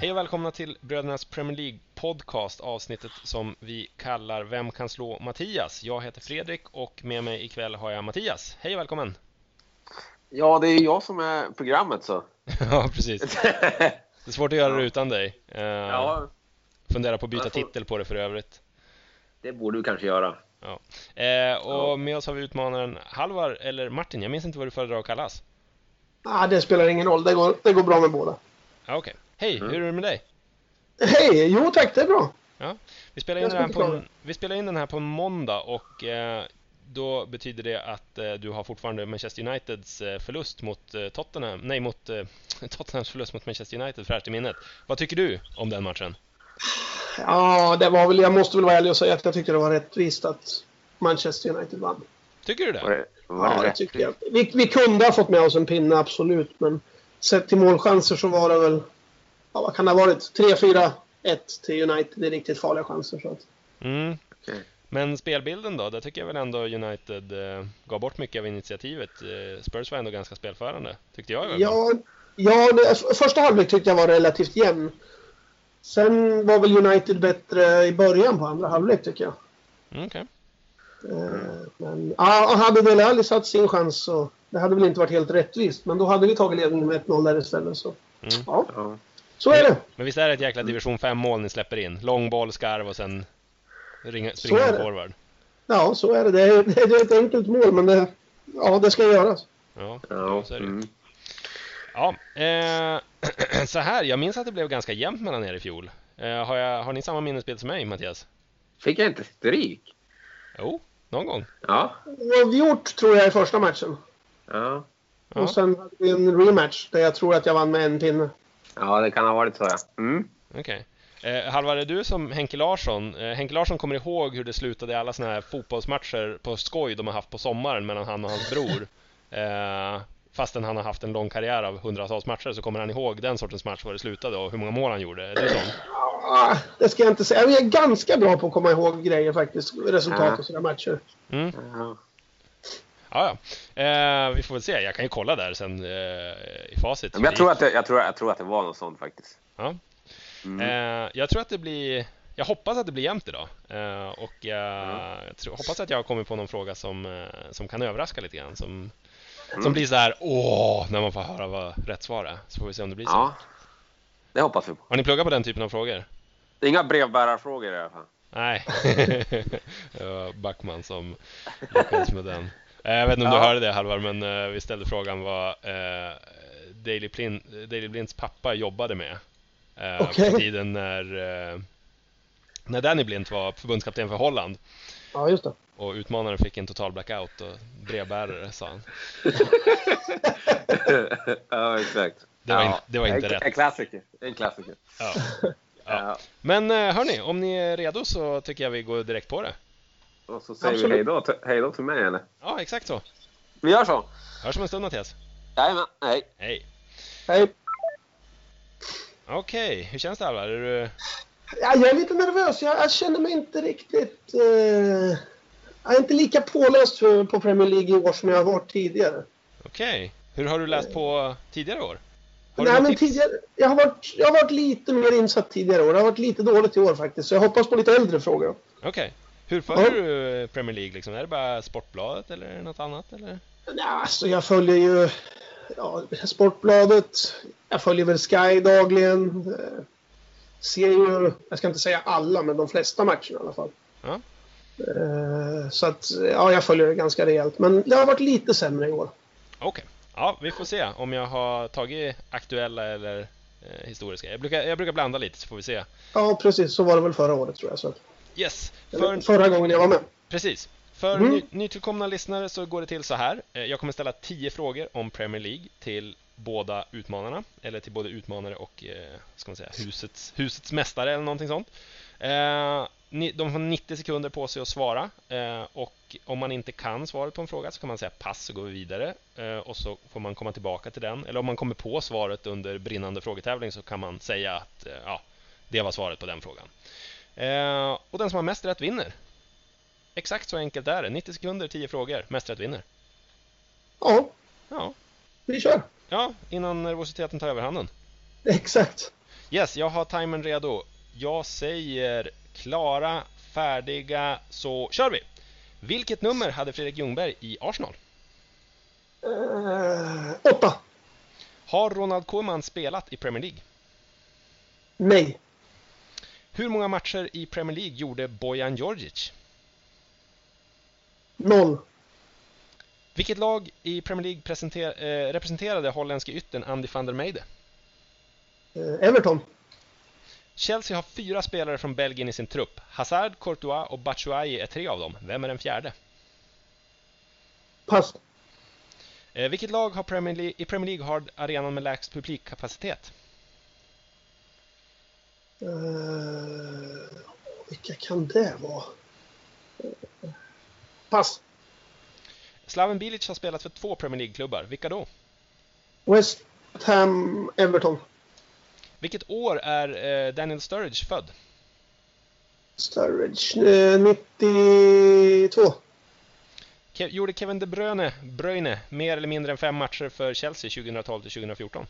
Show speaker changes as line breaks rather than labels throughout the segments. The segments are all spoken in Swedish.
Hej och välkomna till Brödernas Premier League Podcast, avsnittet som vi kallar Vem kan slå Mattias? Jag heter Fredrik och med mig ikväll har jag Mattias. Hej och välkommen!
Ja, det är jag som är programmet så.
ja, precis. Det är svårt att göra det utan dig. Eh,
Ja,
Funderar på att byta
Jag får-
titel på det för övrigt.
det borde vi kanske göra.
Ja. Eh,
Ja.
och med oss har vi utmanaren Halvar, eller Martin, jag minns inte vad du föredrar att kallas.
Ah, det spelar ingen roll, det går, det går bra med båda.
Ja, Okej. Hej,
Mm.
hur är det med dig?
Hej! Jo tack, det är bra.
Vi spelar, in
Jag
den här
ska
på
inte
en, vi spelar in den här på en måndag och eh, då betyder det att eh, du har fortfarande Manchester Uniteds eh, förlust mot eh, Tottenham, nej mot eh, Tottenhams förlust mot Manchester United fräscht i minnet. Vad tycker du om den matchen?
Ja, det var väl, jag måste väl vara ärlig och säga att jag tyckte det var rättvist att Manchester United vann.
Tycker du det?
Var det, var
Ja,
det
det
rätt?
tycker jag. Vi, vi kunde ha fått med oss en pinne, absolut. Men sett till målchanser så var det väl, ja, vad kan det ha varit? 3-4-1 till United. Det är riktigt farliga chanser. Så att,
Mm.
Okej.
Men spelbilden då? Där tycker jag väl ändå United eh, gav bort mycket av initiativet. Eh, Spurs var ändå ganska spelförande, tyckte jag i alla fall.
ja, ja det, första halvlek tyckte jag var relativt jämn. Sen var väl United bättre i början på andra halvlek tycker jag.
Mm, okej.
Eh, Men ja, och hade Dele Alli satt sin chans så det hade väl inte varit helt rättvist. Men då hade vi tagit ledningen med 1-0 där istället. Så.
Mm.
Ja,
Ja.
så är det.
Men visst är det ett jäkla division 5-mål ni släpper in? Lång boll, skarv och sen ringa,
Så
springa
är
en
det.
forward.
Ja, så är det. Det är, det är ett enkelt mål, men det, ja, det ska göras.
Ja.
Ja.
Så är det ju.
Mm.
Ja, eh, så här, jag minns att det blev ganska jämnt mellan er i fjol. Eh, har, jag, har ni samma minnesbild som mig, Mattias?
Fick jag inte stryk?
Jo, någon gång.
Ja.
Oavgjort tror jag i första matchen.
ja.
Ja.
Och sen hade vi en rematch där jag tror att jag vann med en pinne.
Ja, det kan ha varit så ja. Mm.
Okej. Eh, Halvar, är du som Henke Larsson? Eh, Henke Larsson kommer ihåg hur det slutade i alla såna här fotbollsmatcher på skoj de har haft på sommaren mellan han och hans bror. Eh, fastän han har haft en lång karriär av hundratals matcher så kommer han ihåg den sortens match, var det slutade och hur många mål han gjorde. Är du sån?
Ah, det ska jag inte säga. Jag är ganska bra på att komma ihåg grejer faktiskt. Resultat och sådana matcher.
Ja.
Ja, ja. Eh, vi får väl se. Jag kan ju kolla där sen eh, i facit.
Men jag tror, att det, jag, tror, jag tror att det var något sånt faktiskt.
Ja.
Mm.
Eh, jag tror att det blir... Jag hoppas att det blir jämnt idag. Eh, och jag tror, hoppas att jag har kommit på någon fråga som, eh, som kan överraska lite grann. Som, som
Mm.
blir så här åh, när man får höra vad rätt svar är. Så får vi se om det blir så.
Ja. Det hoppas vi på.
Har ni pluggat på den typen av frågor?
Inga brevbärarfrågor i alla fall.
Nej. det var Backman som lyckades med den. Eh, Jag vet inte om du
Ja.
hörde det Halvar, men eh, vi ställde frågan vad eh, Daily, Plin, Daily Blinds pappa jobbade med. Eh, På
Okej.
tiden när, eh, när Danny Blind var förbundskapten för Holland.
Ja, just det.
Och utmanaren fick en total blackout och brevbärare sa han.
ja, exakt.
Det var
ja.
in- det var inte
en,
rätt.
En klassiker. En klassiker.
Ja.
Ja.
Men eh, hörni, om ni är redo så tycker jag vi går direkt på det.
Och så säger
Absolut.
vi hej då, till- hej då till mig eller?
Ja, exakt så.
Vi gör så.
Hörs om en stund Mattias.
Jajamän, hej.
Hej.
Hej.
Okej, hur känns det Halvar? Är du...
Ja, jag är lite nervös. Jag, jag känner mig inte riktigt... Eh, jag är inte lika påläst för, på Premier League i år som jag har varit tidigare.
Okej, hur har du läst på tidigare år? Har du
Nej,
något
men
tips?
tidigare, jag, har varit, jag har varit lite mer insatt tidigare år. Det har varit lite dåligt i år faktiskt. Så jag hoppas på lite äldre frågor.
Okej. Hur följer
Ja.
du Premier League liksom? Är det bara Sportbladet eller är det något annat eller?
Nej, alltså jag följer ju ja, Sportbladet. Jag följer väl Sky dagligen. Eh, ser ju, jag ska inte säga alla, men de flesta matcherna i alla fall.
Ja.
Eh, så att, ja, jag följer det ganska rejält. Men det har varit lite sämre i år.
Okej. Ja, vi får se om jag har tagit aktuella eller eh, historiska. Jag brukar, jag brukar blanda lite så får vi se.
Ja, precis. Så var det väl förra året tror jag. Så.
Yes!
Eller
För,
Förra gången jag var med.
precis. För
Mm.
ny, nytillkomna lyssnare så går det till så här. Eh, Jag kommer ställa 10 frågor om Premier League till båda utmanarna. Eller till både utmanare och eh, vad ska man säga, husets, husets mästare eller någonting sånt. Eh, ni, de får 90 sekunder på sig att svara eh, och om man inte kan svaret på en fråga så kan man säga pass och gå vidare eh, och så får man komma tillbaka till den. Eller om man kommer på svaret under brinnande frågetävling så kan man säga att eh, ja, det var svaret på den frågan. Eh, och den som har mest rätt vinner. Exakt så enkelt är det. 90 sekunder, 10 frågor. Mest rätt vinner.
Ja,
Ja,
vi kör.
ja innan nervositeten tar överhanden.
Exakt.
Yes, jag har timern redo. Jag säger klara, färdiga, så kör vi! Vilket nummer hade Fredrik Ljungberg i Arsenal?
Eh, åtta.
Har Ronald Koeman spelat i Premier League?
Nej.
Hur många matcher i Premier League gjorde Bojan Djordjic?
Noll.
Vilket lag i Premier League presenter- eh, representerade holländske yttern Andy van der Meijde?
Eh, Everton.
Chelsea har fyra spelare från Belgien i sin trupp. Hazard, Courtois och Batshuayi är tre av dem. Vem är den fjärde?
Pass.
Eh, vilket lag har Premier League, i Premier League har arenan med lägst publikkapacitet?
Eh, vilka kan det vara? Eh, Pass.
Slaven Bilic har spelat för två Premier League-klubbar. Vilka då?
West Ham, Everton.
Vilket år är eh, Daniel Sturridge född?
Sturridge. Eh, 92.
Ke- gjorde Kevin De Bruyne, Bruyne mer eller mindre än fem matcher för Chelsea 2012 till 2014?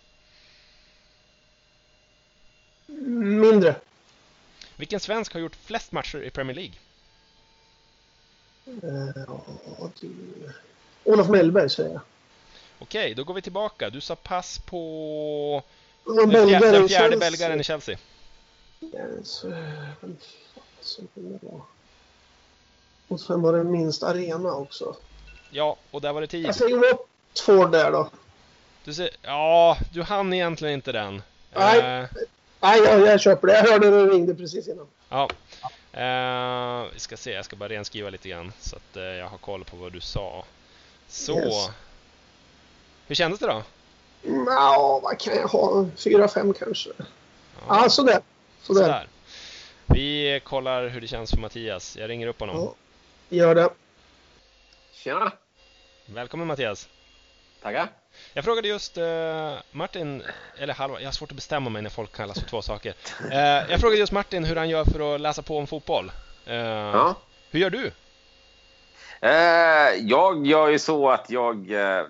Mindre.
Vilken svensk har gjort flest matcher i Premier League?
Eh, ja, det- Olof Mellberg säger jag.
Okej, då går vi tillbaka. Du sa pass på
Den
den fjärde,
belgaren
den fjärde
känns-
belgaren i Chelsea.
Yes. eh, Vem fan som det var? Och sen var det minst arena också. Alltså,
Ja, och där var det tid.
Jag säger Watford där då.
Du ser, ja, du hann egentligen inte den.
Nej.
Eh,
Nej, jag, jag köper det. Jag hörde när du ringde precis innan.
Ja. Eh, vi ska se, jag ska bara renskriva lite grann så att eh, jag har koll på vad du sa. Så.
Yes.
Hur kändes det då?
Mm, Ja, vad kan jag ha? Fyra, fem kanske. Ja, sådär. Sådär.
sådär. Vi kollar hur det känns för Mattias. Jag ringer upp honom.
Ja, gör det.
Tjena!
Välkommen Mattias!
Tackar!
Jag frågade just eh, Martin, eller halva, jag har svårt att bestämma mig när folk kallas för två saker. Eh, jag frågade just Martin hur han gör för att läsa på om fotboll. Eh,
Ja.
Hur gör du?
Eh, jag gör ju så att jag... Eh,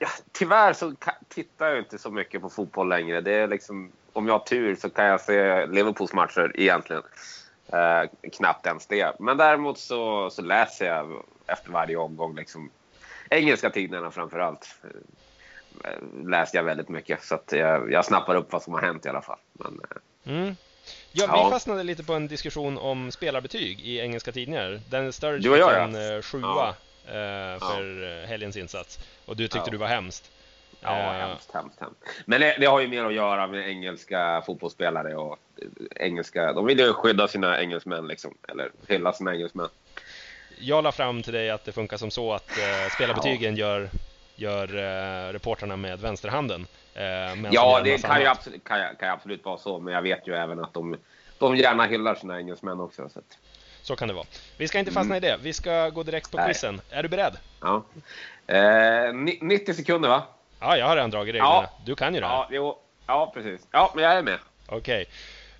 ja, tyvärr så ka- tittar jag inte så mycket på fotboll längre. Det är liksom, om jag har tur så kan jag se Liverpools matcher egentligen. Eh, knappt ens det. Men däremot så, så läser jag efter varje omgång. Liksom, engelska tidningarna framför allt eh, läser jag väldigt mycket. Så att jag, jag snappar upp vad som har hänt i alla fall. Men, eh,
Mm. Ja,
Ja.
Vi fastnade lite på en diskussion om spelarbetyg i engelska tidningar. Den Sturridge
Du och jag,
fick
ja.
en eh, sjua eh, för eh, helgens insats och du tyckte
Ja.
du var hemskt.
Ja,
Eh,
hemskt, hemskt, hemskt. Men det, det har ju mer att göra med engelska fotbollsspelare och eh, engelska. De vill ju skydda sina engelsmän liksom, eller hylla sina engelsmän.
Jag la fram till dig att det funkar som så att eh, spelarbetygen gör, gör eh, reportrarna med vänsterhanden. Eh, medan de gör
ja,
en
det
massa
kan ju,
annat.
absolut, kan, ju- kan ju absolut vara så, men jag vet ju även att de, de gärna hyllar sina engelsmän också. Så att,
Så kan det vara. Vi ska inte fastna i det. Vi ska gå direkt på
Mm. Nej.
quizen. Är du beredd?
ja. eh, ni- 90 sekunder, va?
Ja, jag har redan dragit reglerna.
Ja.
Du kan ju det här.
Ja, jo, ja, precis. Ja, men jag är med.
Okej.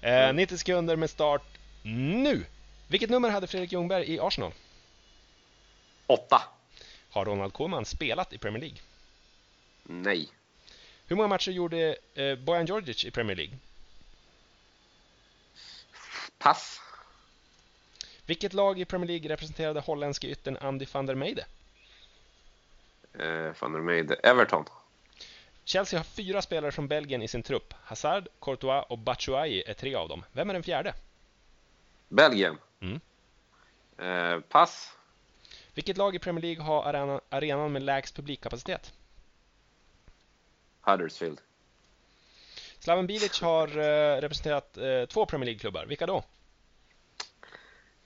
Eh, 90 sekunder med start nu! Vilket nummer hade Fredrik Ljungberg i Arsenal?
Åtta.
Har Ronald Koeman spelat i Premier League?
Nej.
Hur många matcher gjorde eh, Bojan Djordjic i Premier League?
Pass.
Vilket lag i Premier League representerade holländske yttern Andy van der Meijde?
Eh, fan, är med Everton.
Chelsea har fyra spelare från Belgien i sin trupp. Hazard, Courtois och Batshuayi är tre av dem. Vem är den fjärde?
Belgien.
Mm.
Eh, pass.
Vilket lag i Premier League har arena, arenan med lägst publikkapacitet?
Huddersfield.
Slaven Bilic har eh, representerat eh, två Premier League-klubbar. Vilka då?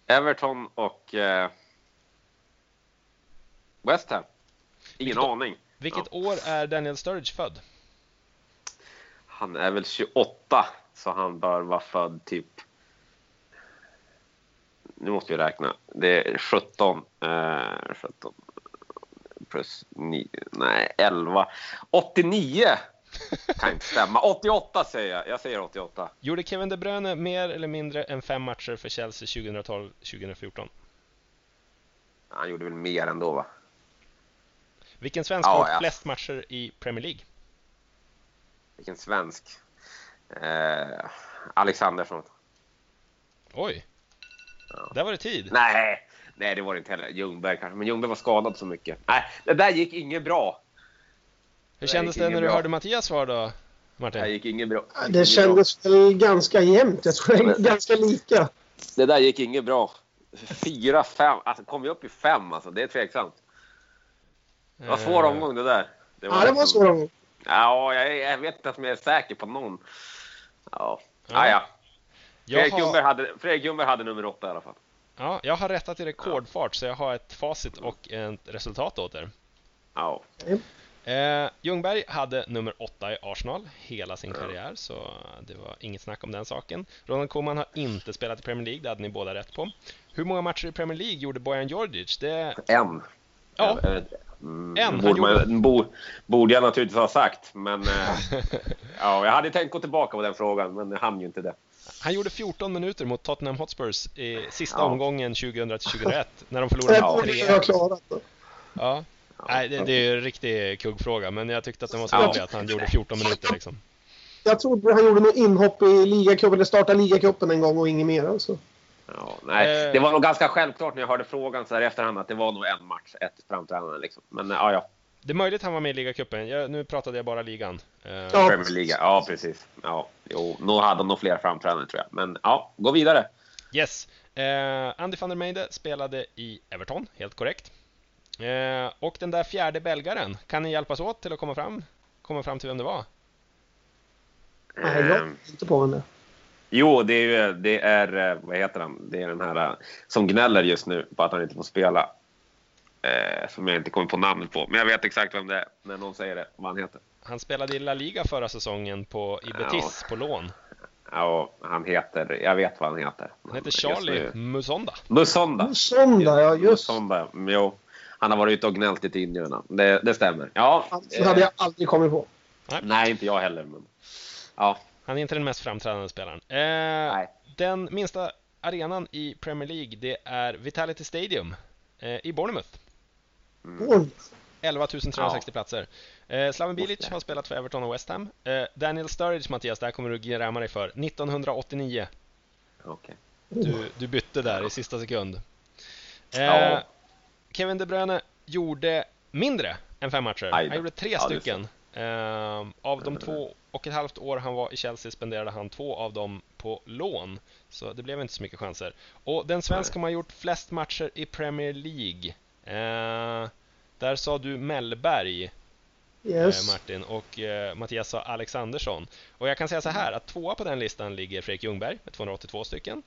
Everton och eh, West Ham. Ingen
Vilket-
aning.
Vilket
Ja.
år är Daniel Sturridge född?
Han är väl 28, så han bör vara född typ... Nu måste vi räkna. Det är 17. Eh, 17 plus 9. Nej, 11. 89! Kan inte stämma. 88 säger jag. Jag säger 88.
Gjorde Kevin De Bruyne mer eller mindre än fem matcher för Chelsea 2012-2014?
Han gjorde väl mer ändå, va?
Vilken svensk
Ja,
har
ja.
flest matcher i Premier League?
Vilken svensk. Eh, Alexandersson.
Oj! Där var det tid.
Nej, nej det var det inte heller. Ljungberg kanske, men Ljungberg var skadad så mycket. Nej, det där gick inget bra.
Hur kändes
gick
det när
ingen
du
bra.
hörde Mattias svar då,
Det
Martin?
där gick inget bra. gick
Det
inget
kändes väl ganska jämnt. Jag tror det är
Men-
ganska lika.
bra. det där gick inget bra. Fyra, fem. Alltså kom vi upp i fem alltså, det är tveksamt. Det var en svår
Eh,
omgång det där. Det
Ja, det var
liksom-
så de
Ja, jag, jag vet inte om jag är säker på någon. Ja, Ah,
Ja.
ja. ja.
Jag
Fredrik, Ljungberg
har,
hade, Fredrik Ljungberg hade nummer åtta i alla fall.
ja, jag har rättat i rekordfart så jag har ett facit och ett resultat åt er.
Ja.
Eh, Ljungberg hade nummer åtta i Arsenal hela sin karriär, så det var inget snack om den saken. Ronald Koeman har inte spelat i Premier League, det hade ni båda rätt på. Hur många matcher i Premier League gjorde Bojan Djordjic? Det,
En.
ja,
Eh, Mm,
En, han
borde,
gjorde-
man, bo, borde jag naturligtvis ha sagt, men eh, ja, jag hade tänkt gå tillbaka på den frågan, men jag hann ju inte det.
han gjorde 14 minuter mot Tottenham Hotspurs i sista
Ja.
omgången 2000-2001, när de
Det
förlorade med
borde jag
3
ha klarat. då.
ja. Nej, det, det är ju en riktig kuggfråga, men jag tyckte att den var så
Ja.
rolig att han gjorde 14 minuter liksom.
Jag trodde han gjorde något inhopp i ligacupen, eller startade ligacupen en gång och inget mer. Alltså.
Ja, nej,
Eh.
Det var nog ganska självklart när jag hörde frågan så här i efterhand att det var nog en match, ett framträdande. Liksom. Men eh, ja, ja.
Det är möjligt han var med i ligacupen, jag, nu pratade jag bara ligan. Eh,
Ja.
Premier League. Ja, precis. Ja, jo, nog hade de nog fler framträdanden tror jag. Men ja, gå vidare.
Yes. Eh, Andy van der Meijde spelade i Everton, helt korrekt. Eh, och den där fjärde belgaren, kan ni hjälpas åt till att komma fram, komma fram till vem det var?
Nej, jag
Ehm,
kom inte på henne.
Jo, det är, ju- det är, eh, vad heter han, det är den här eh, som gnäller just nu på att han inte får spela. Eh, som jag inte kommer på namnet på, men jag vet exakt vem det är när någon säger det, vad han heter.
Han spelade i La Liga förra säsongen på i Betis på lån.
Ja, han heter, jag vet vad han heter.
Han heter Charlie
Just nu-
Musonda.
Musonda.
Söndag, ja just.
Musonda, jo. Han har varit ute och gnällt lite indierna. Det, det stämmer. Ja.
Det Alltså, hade
Eh.
jag aldrig kommit på.
Nej, inte jag heller. Men... Ja,
Han är inte den mest framträdande spelaren. Eh,
nej.
Den minsta arenan i Premier League, det är Vitality Stadium eh, i Bournemouth.
Mm.
Oj,
11 360 platser. Eh, Slaven Bilic
Måste.
har spelat för Everton och West Ham. Eh, Daniel Sturridge, Mattias, det här kommer du gräma dig för. 1989.
Okej.
Du, du bytte där i sista sekund. Eh,
Ja.
Kevin De Bruyne gjorde mindre än fem matcher.
Aj då.
Han gjorde tre
Ja, det är
stycken. Ehm, av de två och ett halvt år han var i Chelsea spenderade han två av dem på lån. Så det blev inte så mycket chanser. Och den svensk som har gjort flest matcher i Premier League. Eh, där sa du Mellberg. Eh,
yes.
Martin och eh, Mattias sa Alexandersson. Och jag kan säga så här att tvåa på den listan ligger Fredrik Ljungberg med 282 stycken.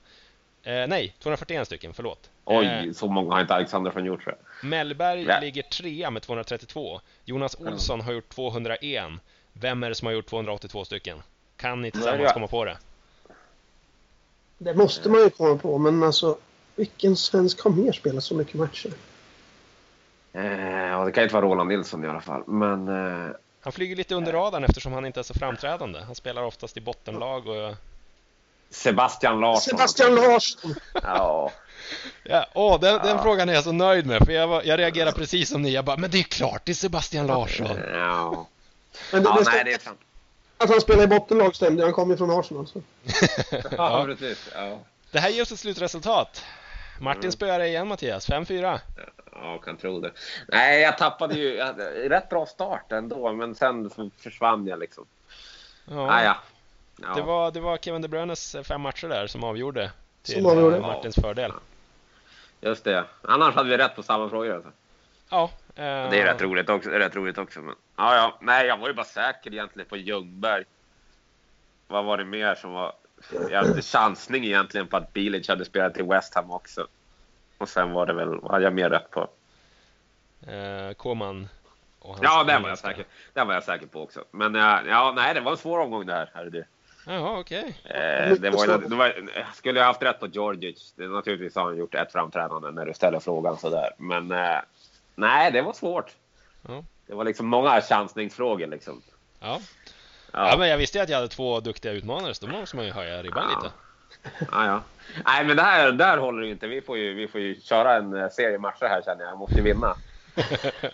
Eh, nej, 241 stycken, förlåt. Eh,
Oj, så många har inte Alexandersson gjort tror jag.
Mellberg
Ja.
ligger trea med 232. Jonas Olsson har gjort 201. Vem är det som har gjort 282 stycken? Kan ni tillsammans
jag.
komma på det?
Det måste man ju komma på, men alltså vilken svensk har mer spelat så mycket matcher?
Eh, ja, det kan ju inte vara Roland Nilsson i alla fall. Men eh,
Han flyger lite under radarn eftersom han inte är så framträdande. Han spelar oftast i bottenlag och...
Sebastian Larsson.
Sebastian Larsson!
Ja.
Ja, åh, den, den
Ja.
frågan är jag så nöjd med för jag, var, jag reagerar precis som ni. Jag bara, men det är klart det är Sebastian Larsson.
Eh, ja.
Men det,
ja
det
nej,
stämde
det är sant.
att han spelade i bottenlag stämde, han kom ju från Arsenal. Så.
Ja, precis. Ja.
Det här ger oss ett slutresultat. Martin
Mm.
spöar dig igen Mattias, 5-4.
ja, kan tro det. Nej, jag tappade ju. jag hade Rätt bra start ändå, men sen f- försvann jag liksom. Ah,
Ja.
Ja, ja. ja.
Det, var, det var Kevin De Bruynes eh, fem matcher där som avgjorde till
Som avgjorde.
eh, Martins fördel.
Just det. Annars hade vi rätt på samma frågor. Alltså.
Ja, eh,
Det är rätt roligt också. Det är rätt roligt också men... ja, ja. Nej, jag var ju bara säker egentligen på Ljungberg. Vad var det mer som var... Jag hade chansning egentligen på att Bilic hade spelat i West Ham också. Och sen var det väl... Vad hade jag mer rätt på?
eh, Koman och hans
Ja, den var jag
engelska.
säker, den var jag säker på också. Men eh, ja, nej, det var en svår omgång det här. herregud.
Jaha, okej.
Eh, det var, ju- det var, jag skulle jag haft rätt på Georgic. Det, naturligtvis har han gjort ett framträdande när du ställer frågan sådär. Men eh, nej, det var svårt.
Ja.
Det var liksom många chansningsfrågor liksom.
Ja.
Ja.
ja, men jag visste ju att jag hade två duktiga utmanare så då måste man ju höja ribban
Ja.
lite.
Ja, ja. Nej, men det här, där håller det ju inte. Vi får ju, vi får ju köra en eh, serie matcher här känner jag. Jag måste ju vinna.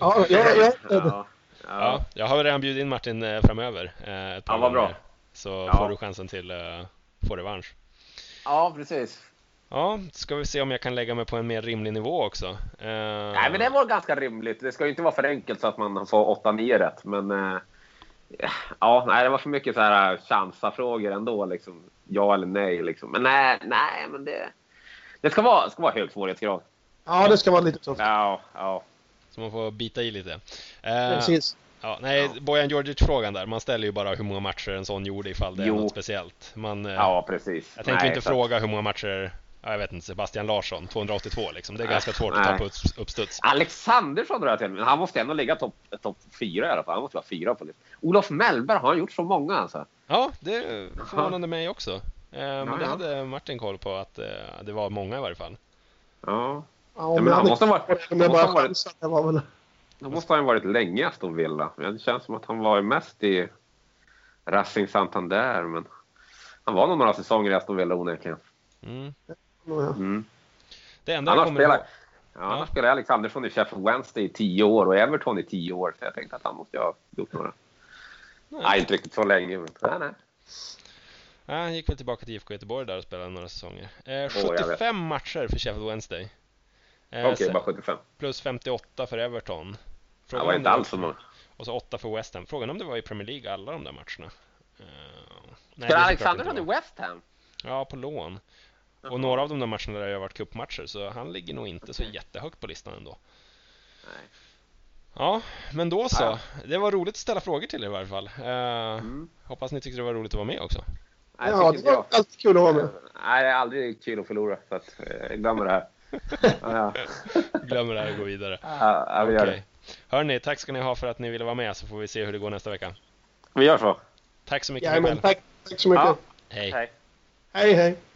Ja, ja, ja.
Ja, ja.
Ja, jag har väl redan bjudit in Martin eh, framöver. eh, ett par
Ja, vad bra.
gånger. Så
Ja.
får du chansen till eh, få revansch.
Ja, precis.
Ja, ska vi se om jag kan lägga mig på en mer rimlig nivå också. Eh,
Nej, men det var ganska rimligt. Det ska ju inte vara för enkelt så att man får 8-9 rätt. Men eh, ja, nej, det var för mycket så här eh, chansa-frågor ändå. Liksom. Ja eller nej. Liksom. Men nej, nej, men det... Det ska vara, ska vara hög svårighetsgrad.
Ja, det ska vara lite tufft.
Ja, ja.
Så man får bita i lite. Eh,
Precis.
Ja, nej,
Ja.
Bojan Djordjic-frågan där, man ställer ju bara hur många matcher en sån gjorde ifall det
Jo.
är något speciellt. Man, eh,
ja, precis.
jag tänker
Nej,
inte
så att-
fråga hur många matcher, ja, jag vet inte, Sebastian Larsson, 282 liksom. Det är
Nej,
ganska svårt att ta
nej.
på upps- uppstuds.
Alexandersson drar jag till men han måste ändå ligga topp top fyra i alla fall. Han måste vara fyra på listan. Olof Mellberg, har han gjort så många alltså?
Ja, det förvånade mig också. Eh, Men det
ja.
hade Martin koll på att eh, det var många i varje fall.
Ja.
Ja, om
men
jag
han
hade-
måste ha varit-
om
han
jag
måste
bara
ha varit-
chansade, det var väl...
Då måste han ju varit länge i Aston Villa. Men Det känns som att han var ju mest i Racing Santander. Men han var nog några säsonger i Aston Villa onekligen.
Mm.
Ja.
Mm.
Det enda jag
Annars
kommer ihåg,
spelar, ja, annars spelar Alex Andersson i Sheffield Wednesday i tio år och Everton i tio år. Så jag tänkte att han måste ju ha gjort några.
Nej.
Nej, inte riktigt så länge. Men, nej, nej.
ja, han gick väl tillbaka till IFK Göteborg där och spelade några säsonger. Eh,
jag vet.
75 matcher för Sheffield Wednesday. Eh,
Okej,
sen-
bara 75.
plus 58 för Everton.
Det
Frågan
var
om
inte alls så många.
Och så 8 för West Ham. Frågan om det var i Premier League alla de där matcherna. Eh, nej, det är
Spelar
såklart
Alex Andersson
inte
i
var.
West Ham?
Ja, på lån. Och några av de där matcherna där jag har varit cupmatcher, så han ligger nog inte så jättehögt på listan ändå.
Nej.
Ja, men då så.
Ja.
Det var roligt att ställa frågor till er i varje fall. Eh,
Mm.
Hoppas ni tyckte det var roligt att vara med också.
Nej,
ja,
tycker
det
inte jag.
var alltid kul att vara med.
Nej, det är aldrig kul att förlora. Så att, eh, jag glömmer det här. Ja,
Glömmer det här och gå vidare.
ja, ja, vi, gör det.
Okej. Hörni, tack ska ni ha för att ni ville vara med, så får vi se hur det går nästa vecka.
vi gör så.
Tack så mycket
Jajamän,
Mikael.
tack. Tack så mycket.
Ja,
Hej.
hej.
Hej, hej.